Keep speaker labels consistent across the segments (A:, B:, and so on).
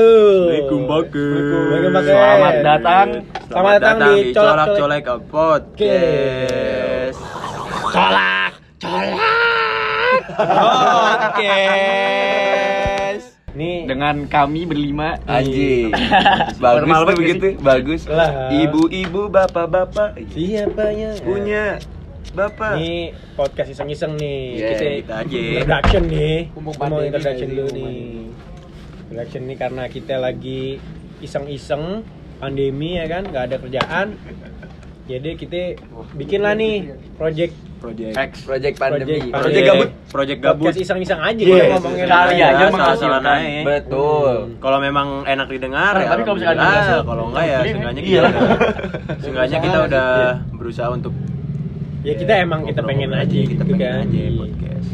A: Assalamualaikum.
B: Assalamualaikum
A: Assalamualaikum,
B: Bagas.
A: Bagas.
B: Selamat datang.
A: Selamat datang di Colak
B: Colak Podcast.
A: Colak, colak. Podcast. Iya. Nih,
C: dengan kami berlima
B: Anjing.
C: Normal
B: Bagus tuh
C: banget
B: begitu, bagus.
A: Lah.
B: Ibu-ibu, bapak-bapak
A: siapanya?
B: punya bapak.
A: Nih podcast iseng-iseng nih.
B: Yeah, Iya, kita aja.
A: Introduction nih.
C: Umum
A: Kita Mau
C: pandemi,
A: introduction
C: jadi
A: dulu
C: umum
A: nih. Introduction nih karena kita lagi iseng-iseng pandemi ya kan, nggak ada kerjaan. Jadi kita bikin lah nih project
B: Project
C: X
D: Project pandemi.
A: Project-
B: Project gabut, Project gabut. Iya,
A: podcast iseng-iseng aja
B: Yes.
A: kita ngomongin apa ya, aja.
C: Karya aja
B: Salah-salah
C: menghasilkan.
B: naik.
D: Betul.
B: Kalau memang enak didengar
C: Nah,
B: ya.
C: tapi kalau misalkan
B: alhamdulillah.
C: nggak hasil,
B: kalau enggak ya
C: beli,
B: seenggaknya
C: iya.
B: kita udah- seenggaknya kita udah
A: Iya.
B: berusaha untuk
A: Ya kita emang kita pengen aja
B: kita
A: gitu kan.
B: pengen aja podcast.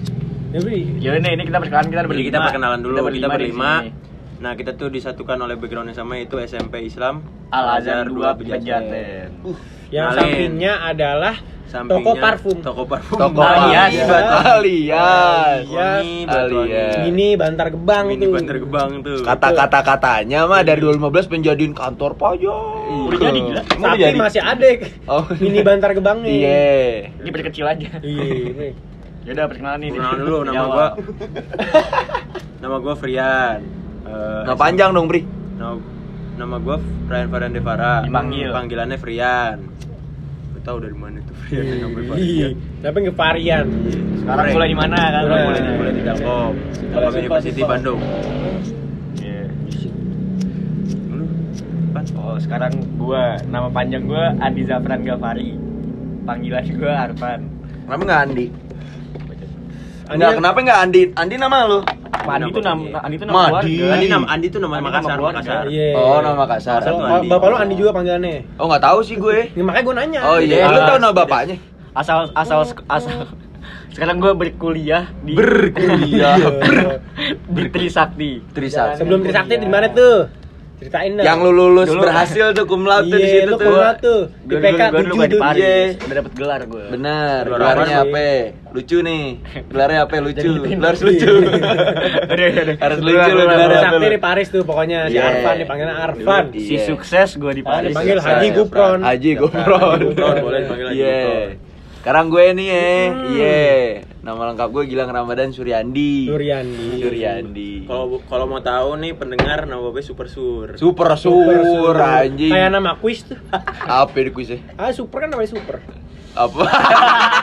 A: Ya, Bri.
C: jadi nih ini kita perkenalan kita
B: Jadi
C: berlima
B: kita perkenalan dulu, kita berlima.
C: di sini.
B: Nah, kita tuh disatukan oleh background yang sama yaitu SMP Islam
C: Al Azhar dua
B: Pejaten.
C: pejaten
A: Yang
B: Nalin.
A: sampingnya adalah toko
B: Sampingnya-
A: parfum.
B: Toko parfum.
D: Toko
B: iya,
C: Alias.
D: Alias.
B: Wangi,
D: Alias.
B: batu wangi.
D: Alias.
A: Mini Bantar Gebang
B: Ini
A: tuh.
B: Bantar Gebang tuh.
D: Kata-kata katanya mah dari 2015 penjadiin kantor pajak.
B: Iya.
C: Udah jadi, gila.
D: Emang
A: Tapi
D: udah jadi?
A: masih ada
D: Oh.
A: Mini Bantar Gebangnya.
D: Iya.
C: ini perkecil aja
A: Iya. Bri.
C: ya udah perkenalan Ya nih
B: Perkenalan dulu nama
C: Nyawa.
B: gua. nama gua Frian. Eh,
D: Nah panjang dong, Bri.
B: Nama, nama gue Ryan Farhan Devara.
C: Dipanggil.
B: Panggilannya Frian. Gue tahu dari mana tuh Frian yang namanya
A: Iya.
B: Frian.
A: Tapi ke varian.
C: sekarang mulai di mana kan
A: Mulai.
B: Mulai mulai di Telkom. Telkom
A: Sumpah,
B: University
A: sumpah.
B: Bandung.
C: Iya.
B: Lu apaan?
C: oh sekarang gua nama panjang gua Adi Zafran Gafari panggilan gua Arfan
D: Kenapa nggak Andi? Enggak,
A: kan-
D: kenapa nggak Andi? Andi nama lu?
C: Andi itu nama Andi itu nama
D: Madi.
C: keluarga
B: Andi nam Andi tuh nama
C: Andi
B: Makassar,
C: keluarga.
B: Makassar.
A: Iya.
D: Oh, nama Makassar.
B: Makassar tuh
A: Ba-
B: Andi.
A: Bapak lu Andi juga panggilannya.
D: Oh, nggak tahu sih gue.
A: Ya, makanya gue nanya.
D: Oh iya,
B: Iya.
D: lu tahu nama bapaknya?
C: asal asal asal sekarang gua berkuliah di
D: Berkuliah.
A: Iya.
C: di Trisakti
D: Trisakti.
A: Sebelum Trisakti di mana tuh? Ceritain dong.
D: Yang lu lulus
C: Dulu-
D: berhasil tuh cum laude di
A: Iya,
D: situ
A: lu
D: tuh.
A: keluar tuh. Di
C: Gue
A: PK
C: dulu, gue dulu
A: 7
C: gak di
A: tuh.
C: Paris,
D: Iya.
C: udah dapet gelar gue
D: Bener,
B: Gelar
D: gelarnya
A: apa sih?
D: apa? Lucu nih. Gelarnya apa? ya? Lucu.
C: Jadi
D: Lu harus lucu. Harus lucu lu
C: Gelar
D: gelarnya apa
A: Sakti
D: lu?
A: di Paris tuh pokoknya si
D: Iya.
A: Arfan dipanggilnya Arfan.
D: Dulu
C: Si
D: Iya.
C: sukses gue di
A: Ah,
C: Paris
A: dipanggil
C: Sukses.
A: Haji Gupron.
D: Haji
B: Haji
D: Gupron.
B: Gupron, boleh dipanggil Haji
D: Iya.
B: Gupron.
D: Sekarang gue nih ya.
A: Hmm.
D: Iya. Nama lengkap gue Gilang Ramadan Suryandi.
A: Suryandi.
D: Suryandi.
B: Kalau kalau mau tahu nih pendengar nama bapaknya Super Sur.
D: Super sur anjing.
A: Kayak nama kuis tuh.
D: Apa di kuisnya?
A: Ah, super kan namanya super.
D: Apa?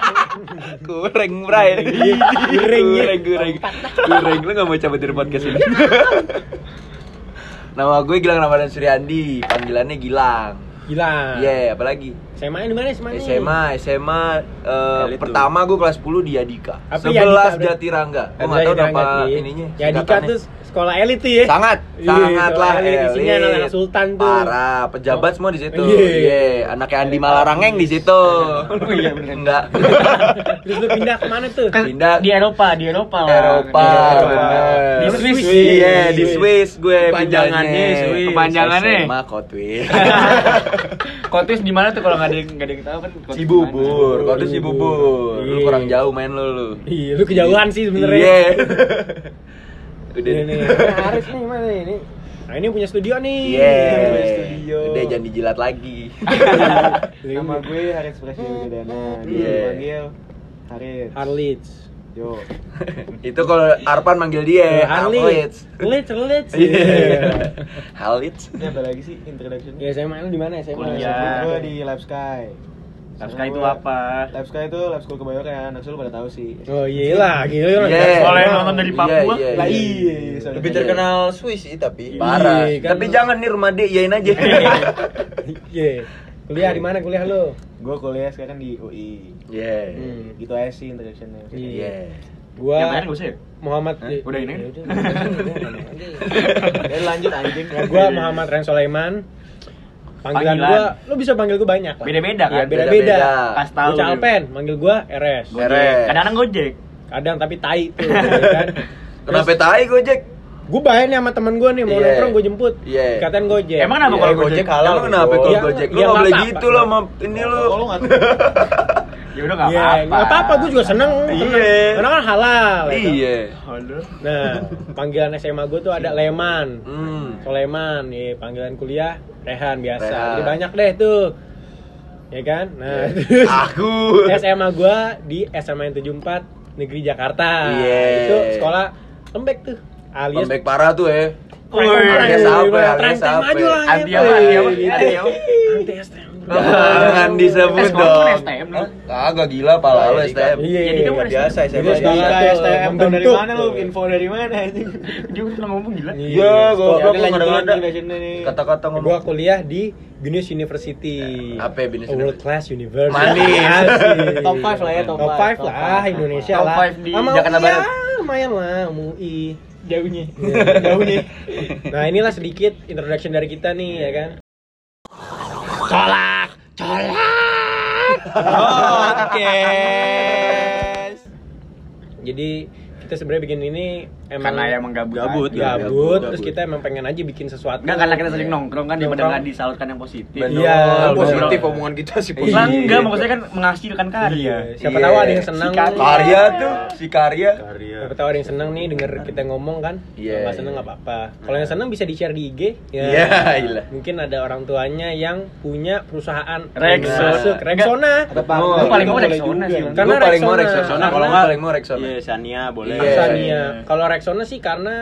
D: Kureng bray
A: Kureng, ya.
D: Kureng kureng Kureng Lu gak mau cabut dari podcast ini Nama gue Gilang Ramadan Suryandi Panggilannya Gilang
A: Gila.
D: Iya, apalagi
A: SMA di Ah. mana SMA?
D: SMA, SMA eh,
B: Elit tuh.
D: pertama gue kelas 10 di Yadika.
A: Apa Yadika,
D: 11
A: bro?
D: Jatirangga. Gue enggak tahu apa ininya.
A: Ya Dika
D: singkatannya.
A: tuh sekolah elit tuh ya.
D: Eh, sangat,
A: Iya,
D: sangat lah
A: soalnya di sini
D: elit.
A: anak-anak sultan tuh.
D: Parah, pejabat semua di situ.
A: Iya.
D: Iya, anaknya Andi Malarangeng di situ.
C: iya, bener.
D: Enggak.
A: Terus lu pindah kemana tuh?
C: Kan
D: Pindah
C: Di Eropa, di Eropa lah
D: Eropa,
C: Iya,
A: Eropa.
D: bener.
C: Di Swiss.
D: Iya, di Swiss gue
B: Kepanjangannya
D: pindahnya.
B: Swiss.
C: Kepanjangannya.
D: SMA Kotwis.
C: Kotis di mana tuh kalau nggak ada yang nggak ada yang tahu kan Kotis
D: Cibubur,
C: di
D: kalau itu Cibubur. Lu
A: Iya.
D: kurang jauh main lu lu.
A: Iya, lu kejauhan sih sebenarnya.
D: Iya. Udah
A: Ini
D: nih.
A: nih, ini Aris nih mana nih? Ini- Nah, ini punya studio nih.
D: Iya.
A: Punya Studio.
D: Udah jangan dijilat lagi.
E: Nama gue Haris Presnya
C: Hmm.
E: Wigadana
D: Iya.
E: Nah, Dia dipanggil Haris
A: Harlits.
E: Yo
D: Itu kalau Arpan
A: Eh,
D: manggil dia Halits.
A: Harlits, Harlits.
D: Iya. Halits.
E: Ini apa lagi sih introduction?
C: Iya,
A: Ya SMA lu di mana SMA?
C: Kuliah.
E: Gue di Lab Sky
C: Lab
E: Sama
C: Sky itu
E: gue-
C: apa?
E: Lab Sky itu Lab School Kebayoran Harusnya lu pada tahu sih
A: Oh iya lah, gila.
D: Iya.
C: Sekolah yang Eh, nonton dari
D: Iya,
C: Papua.
D: iya,
E: Lah iya sorry.
D: Lebih terkenal Swiss sih tapi
A: Iya,
D: parah.
A: kan
D: tapi
A: lu-
D: jangan nih rumah dia yain aja.
B: iya,
A: Iya. Kuliah di mana kuliah lu?
E: Gue kuliah sekarang di UI
D: Iya.
A: Hmm.
E: Gitu aja sih introductionnya
A: Iya.
D: Iya.
A: Gua
C: Yang lain nggak usah ya?
A: Muhammad
C: Hah? Udah ini?
A: Ya udah, udah, udah.
E: Dan lanjut anjing Iya,
A: Nah, gua Muhammad Ren Soleiman. Panggilan,
C: Panggilan.
A: gua, lu bisa panggil gua banyak lah.
C: Beda-beda kan?
A: Iya, beda-beda.
D: Beda-beda.
C: Pas tahu. gitu.
A: Bocah Alpen, manggil gua RS.
D: Gua-
C: Gojek. Kadang-kadang Gojek.
A: Kadang tapi tai tuh, ya kan.
D: Kenapa tai Gojek?
A: Gua bayar nih sama teman gua nih mau
D: Iya.
A: nongkrong gua jemput.
D: Iya.
A: Dikatain Gojek.
C: Emang kenapa kalau Gojek?
D: halal? Emang kenapa
A: Iya,
D: kalau Gojek? Lu
A: iya,
D: nggak
A: nggak
D: boleh
A: apa-apa.
D: gitu loh sama ini lu.
E: Kalau lu ngatur
C: Ya udah nggak
A: Iya,
C: apa-apa.
A: nggak apa-apa, gua juga seneng.
D: Iya.
A: seneng. Karena kan halal. ya kan?
D: Iya.
C: Oh,
B: Waduh.
A: Nah, panggilan SMA gue tuh ada
C: Iya.
A: Leman.
D: Hmm.
A: Soleman, ya, panggilan kuliah Rehan biasa.
D: Rehan. Iya.
A: Jadi banyak deh tuh. Ya kan? Nah, terus
D: Ah.
B: Aku.
A: SMA gua di SMA N 74 Negeri Jakarta.
D: Iya.
A: Itu sekolah lembek tuh. Alias
D: Lembek parah tuh ya.
A: Wih,
D: alias apa, ya? alias
A: Rantai
D: apa?
A: maju lah.
C: Anti
A: gitu.
C: apa, anti apa,
A: Gitu. Eh,
C: anti apa?
A: Anti STM.
D: Jangan disebut
C: SKM
D: dong.
A: ya,
C: pun STM dong.
D: Kagak gila pala lu STM.
A: Iya.
C: Jadi kamu
A: Nggak
C: ada
D: biasa
C: STM.
A: Jadi
D: SMA.
A: sekolah
E: Gila,
A: tuh
E: STM iya. tau dari
A: membentuk
E: mana lu?
A: tuh.
E: Info dari mana anjing?
C: Dia udah pernah ngomong gila.
A: Iya.
D: Iya, gua
A: Sekolah-
D: gua kadang ada kata-kata
A: Gua
D: ngomong.
A: kuliah di Binus University.
D: Apa ya Binus
A: World
D: University?
A: Class University.
D: Manis.
A: Asik.
E: Top five lah ya, top
A: Top
E: five.
A: 5
E: Top
A: lah
E: five.
A: Indonesia
C: Top
A: lah.
C: five di
A: Sama
D: Jakarta
A: UI ya,
D: Barat.
A: lumayan lah, MUI.
E: Jauhnya.
A: Jauhnya. nah, inilah sedikit introduction dari kita nih ya kan. Colak, colak. Oke. Jadi kita sebenarnya bikin ini ya emang
C: Karena emang gabut.
B: Gabut.
A: gabut,
B: gabut,
A: terus
B: gabut.
A: kita emang pengen aja bikin sesuatu. Iya.
C: Enggak karena kita sering nongkrong kan daripada
A: Nongkrong.
C: nggak disalurkan yang positif.
A: Bener.
D: Iya,
A: Iya,
D: positif
C: bener.
D: omongan kita sih
C: Iya.
D: positif.
C: enggak maksudnya kan menghasilkan karya.
A: Iya, siapa
D: Iya.
A: tahu ada yang senang.
C: Sikat.
D: Karya tuh, si karya.
B: Karya.
A: Siapa tahu ada yang senang nih denger kita ngomong kan.
D: Iya,
A: Kalau nggak
D: iya.
A: seneng nggak apa-apa. Kalau yang senang bisa di-share di IG. Ya.
D: Iya, iya.
A: Mungkin ada orang tuanya yang punya perusahaan
C: Rexona.
A: Masuk Rexona.
D: Oh,
C: Gua paling mau
E: boleh
C: dari zona
E: juga.
C: sih. Bang.
A: Kan- Karena
D: Gua paling mau
A: Rexona.
D: Rexona, kalau
A: Karena-
D: nggak paling mau Rexona.
B: Iya, Sania boleh.
D: Iya.
A: Perusahaannya. Kalau Rexona sih karena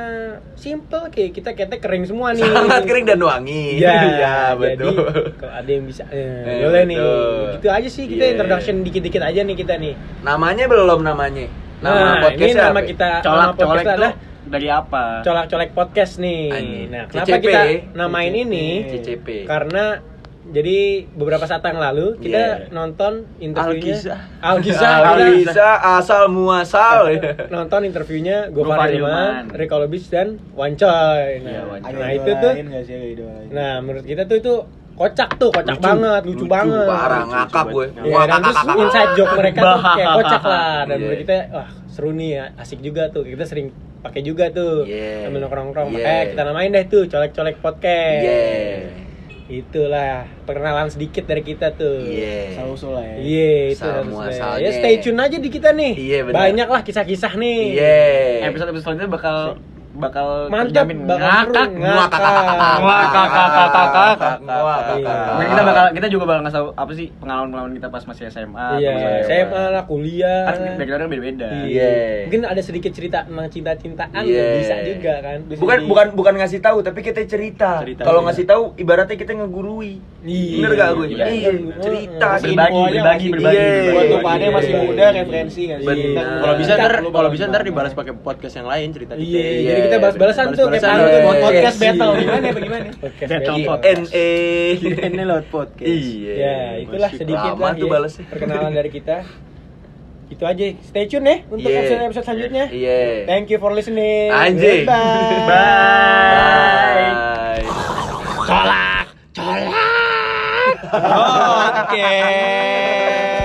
A: simple kayak kita ketek kering semua nih.
D: Sangat kering dan wangi.
A: Iya,
D: Iya, betul.
A: Jadi, kalau ada yang bisa, eh,
D: Eh,
A: boleh nih.
D: betul.
A: Gitu aja sih kita
D: Iya.
A: introduction dikit-dikit aja nih kita nih.
D: Namanya belum namanya. Nama
A: Nah, ini
D: podcastnya
A: nama
D: apa?
A: kita,
C: Colak
A: nama podcast
C: colek
A: kita
C: tuh
A: adalah
C: dari apa?
A: colak-colek podcast nih.
D: Anjing.
A: Nah, kenapa
D: CCP.
A: kita namain ini?
D: CCP.
A: Karena jadi beberapa saat yang lalu kita
D: Yeah.
A: nonton interviewnya
D: Alkisah.
A: Alkisah kita
D: Alisa asal muasal.
A: nonton interviewnya Gofar
C: Gofar
A: Hilman,
C: Hilman,
A: Rico Lobis dan Wancoy. Nah,
C: Iya, Wancoy.
A: nah itu tuh
E: Gak sih, ada idola lain?
A: nah menurut kita tuh itu kocak tuh, kocak banget, lucu, banget.
D: Parah ngakak gue.
A: Iya, dan terus inside joke mereka tuh kayak kocak lah dan
D: Iya.
A: menurut kita wah seru nih ya, asik juga tuh. Kita sering pakai juga tuh.
D: Iya.
A: Sambil nongkrong-nongkrong.
D: Iya.
A: Makanya kita namain deh tuh colek-colek podcast.
D: Iya.
A: Itulah perkenalan sedikit dari kita tuh.
D: Iya.
E: Sausul lah ya.
A: Iya, itu
D: Asal
A: harus
D: muasalnya.
A: Ya stay tune aja di kita nih.
D: Iya, benar.
A: Banyak lah kisah-kisah nih.
D: Iya.
C: Episode episode selanjutnya bakal bakal
A: Mantap,
C: terjamin
A: bakal
C: ngakak.
A: seru,
D: Ngakak.
A: ngakak.
C: Ngakak, ngakak,
A: Iya.
C: ngakak.
D: Ngakak.
C: Mungkin kita bakal kita juga bakal ngasih tahu apa sih pengalaman-pengalaman kita pas masih SMA.
A: Iya,
C: atau masih
A: saya malah kuliah.
C: Kan backgroundnya beda-beda.
A: Iya.
D: Iya.
A: Mungkin ada sedikit cerita tentang cinta-cintaan
D: Iya.
A: bisa juga kan.
D: Bukan bukan bukan ngasih tahu tapi kita cerita.
B: Cerita.
D: Kalau ngasih tahu ibaratnya kita ngegurui.
A: Iya.
D: Bener gak gue?
C: Iya.
D: Iya, cerita sih.
C: Berbagi,
E: Infonya
C: berbagi,
E: masih-
C: berbagi,
D: Iya.
E: Buat
C: berbagi.
E: lu pada yang masih
A: Iya.
E: muda referensi nggak sih?
D: Bener.
E: Kita-
B: Kalau bisa
A: Kita
B: ntar
E: lu
B: kalau
E: bakal
B: bisa ntar
E: gimana?
B: dibalas pakai podcast yang lain cerita kita.
A: Iya,
D: Iya.
A: jadi kita balas-balasan tuh kayak
B: Balas-balasan.
A: palu tuh
D: Iya.
E: Podcast
D: Iya.
E: battle gimana bagaimana?
A: Podcast
C: Battle
A: battle.
C: podcast.
D: NE.
B: Ini lewat podcast.
D: E. Iya.
A: Ya, itulah
D: Masih
A: sedikit
D: lama
A: lah
D: tuh
A: ya,
D: balesnya.
A: perkenalan dari kita. Itu aja. Stay tune ya untuk
D: Iya.
A: episode-episode selanjutnya.
D: Iya.
A: Thank you for listening.
D: Anjing.
A: Goodbye.
D: Bye.
A: Oke.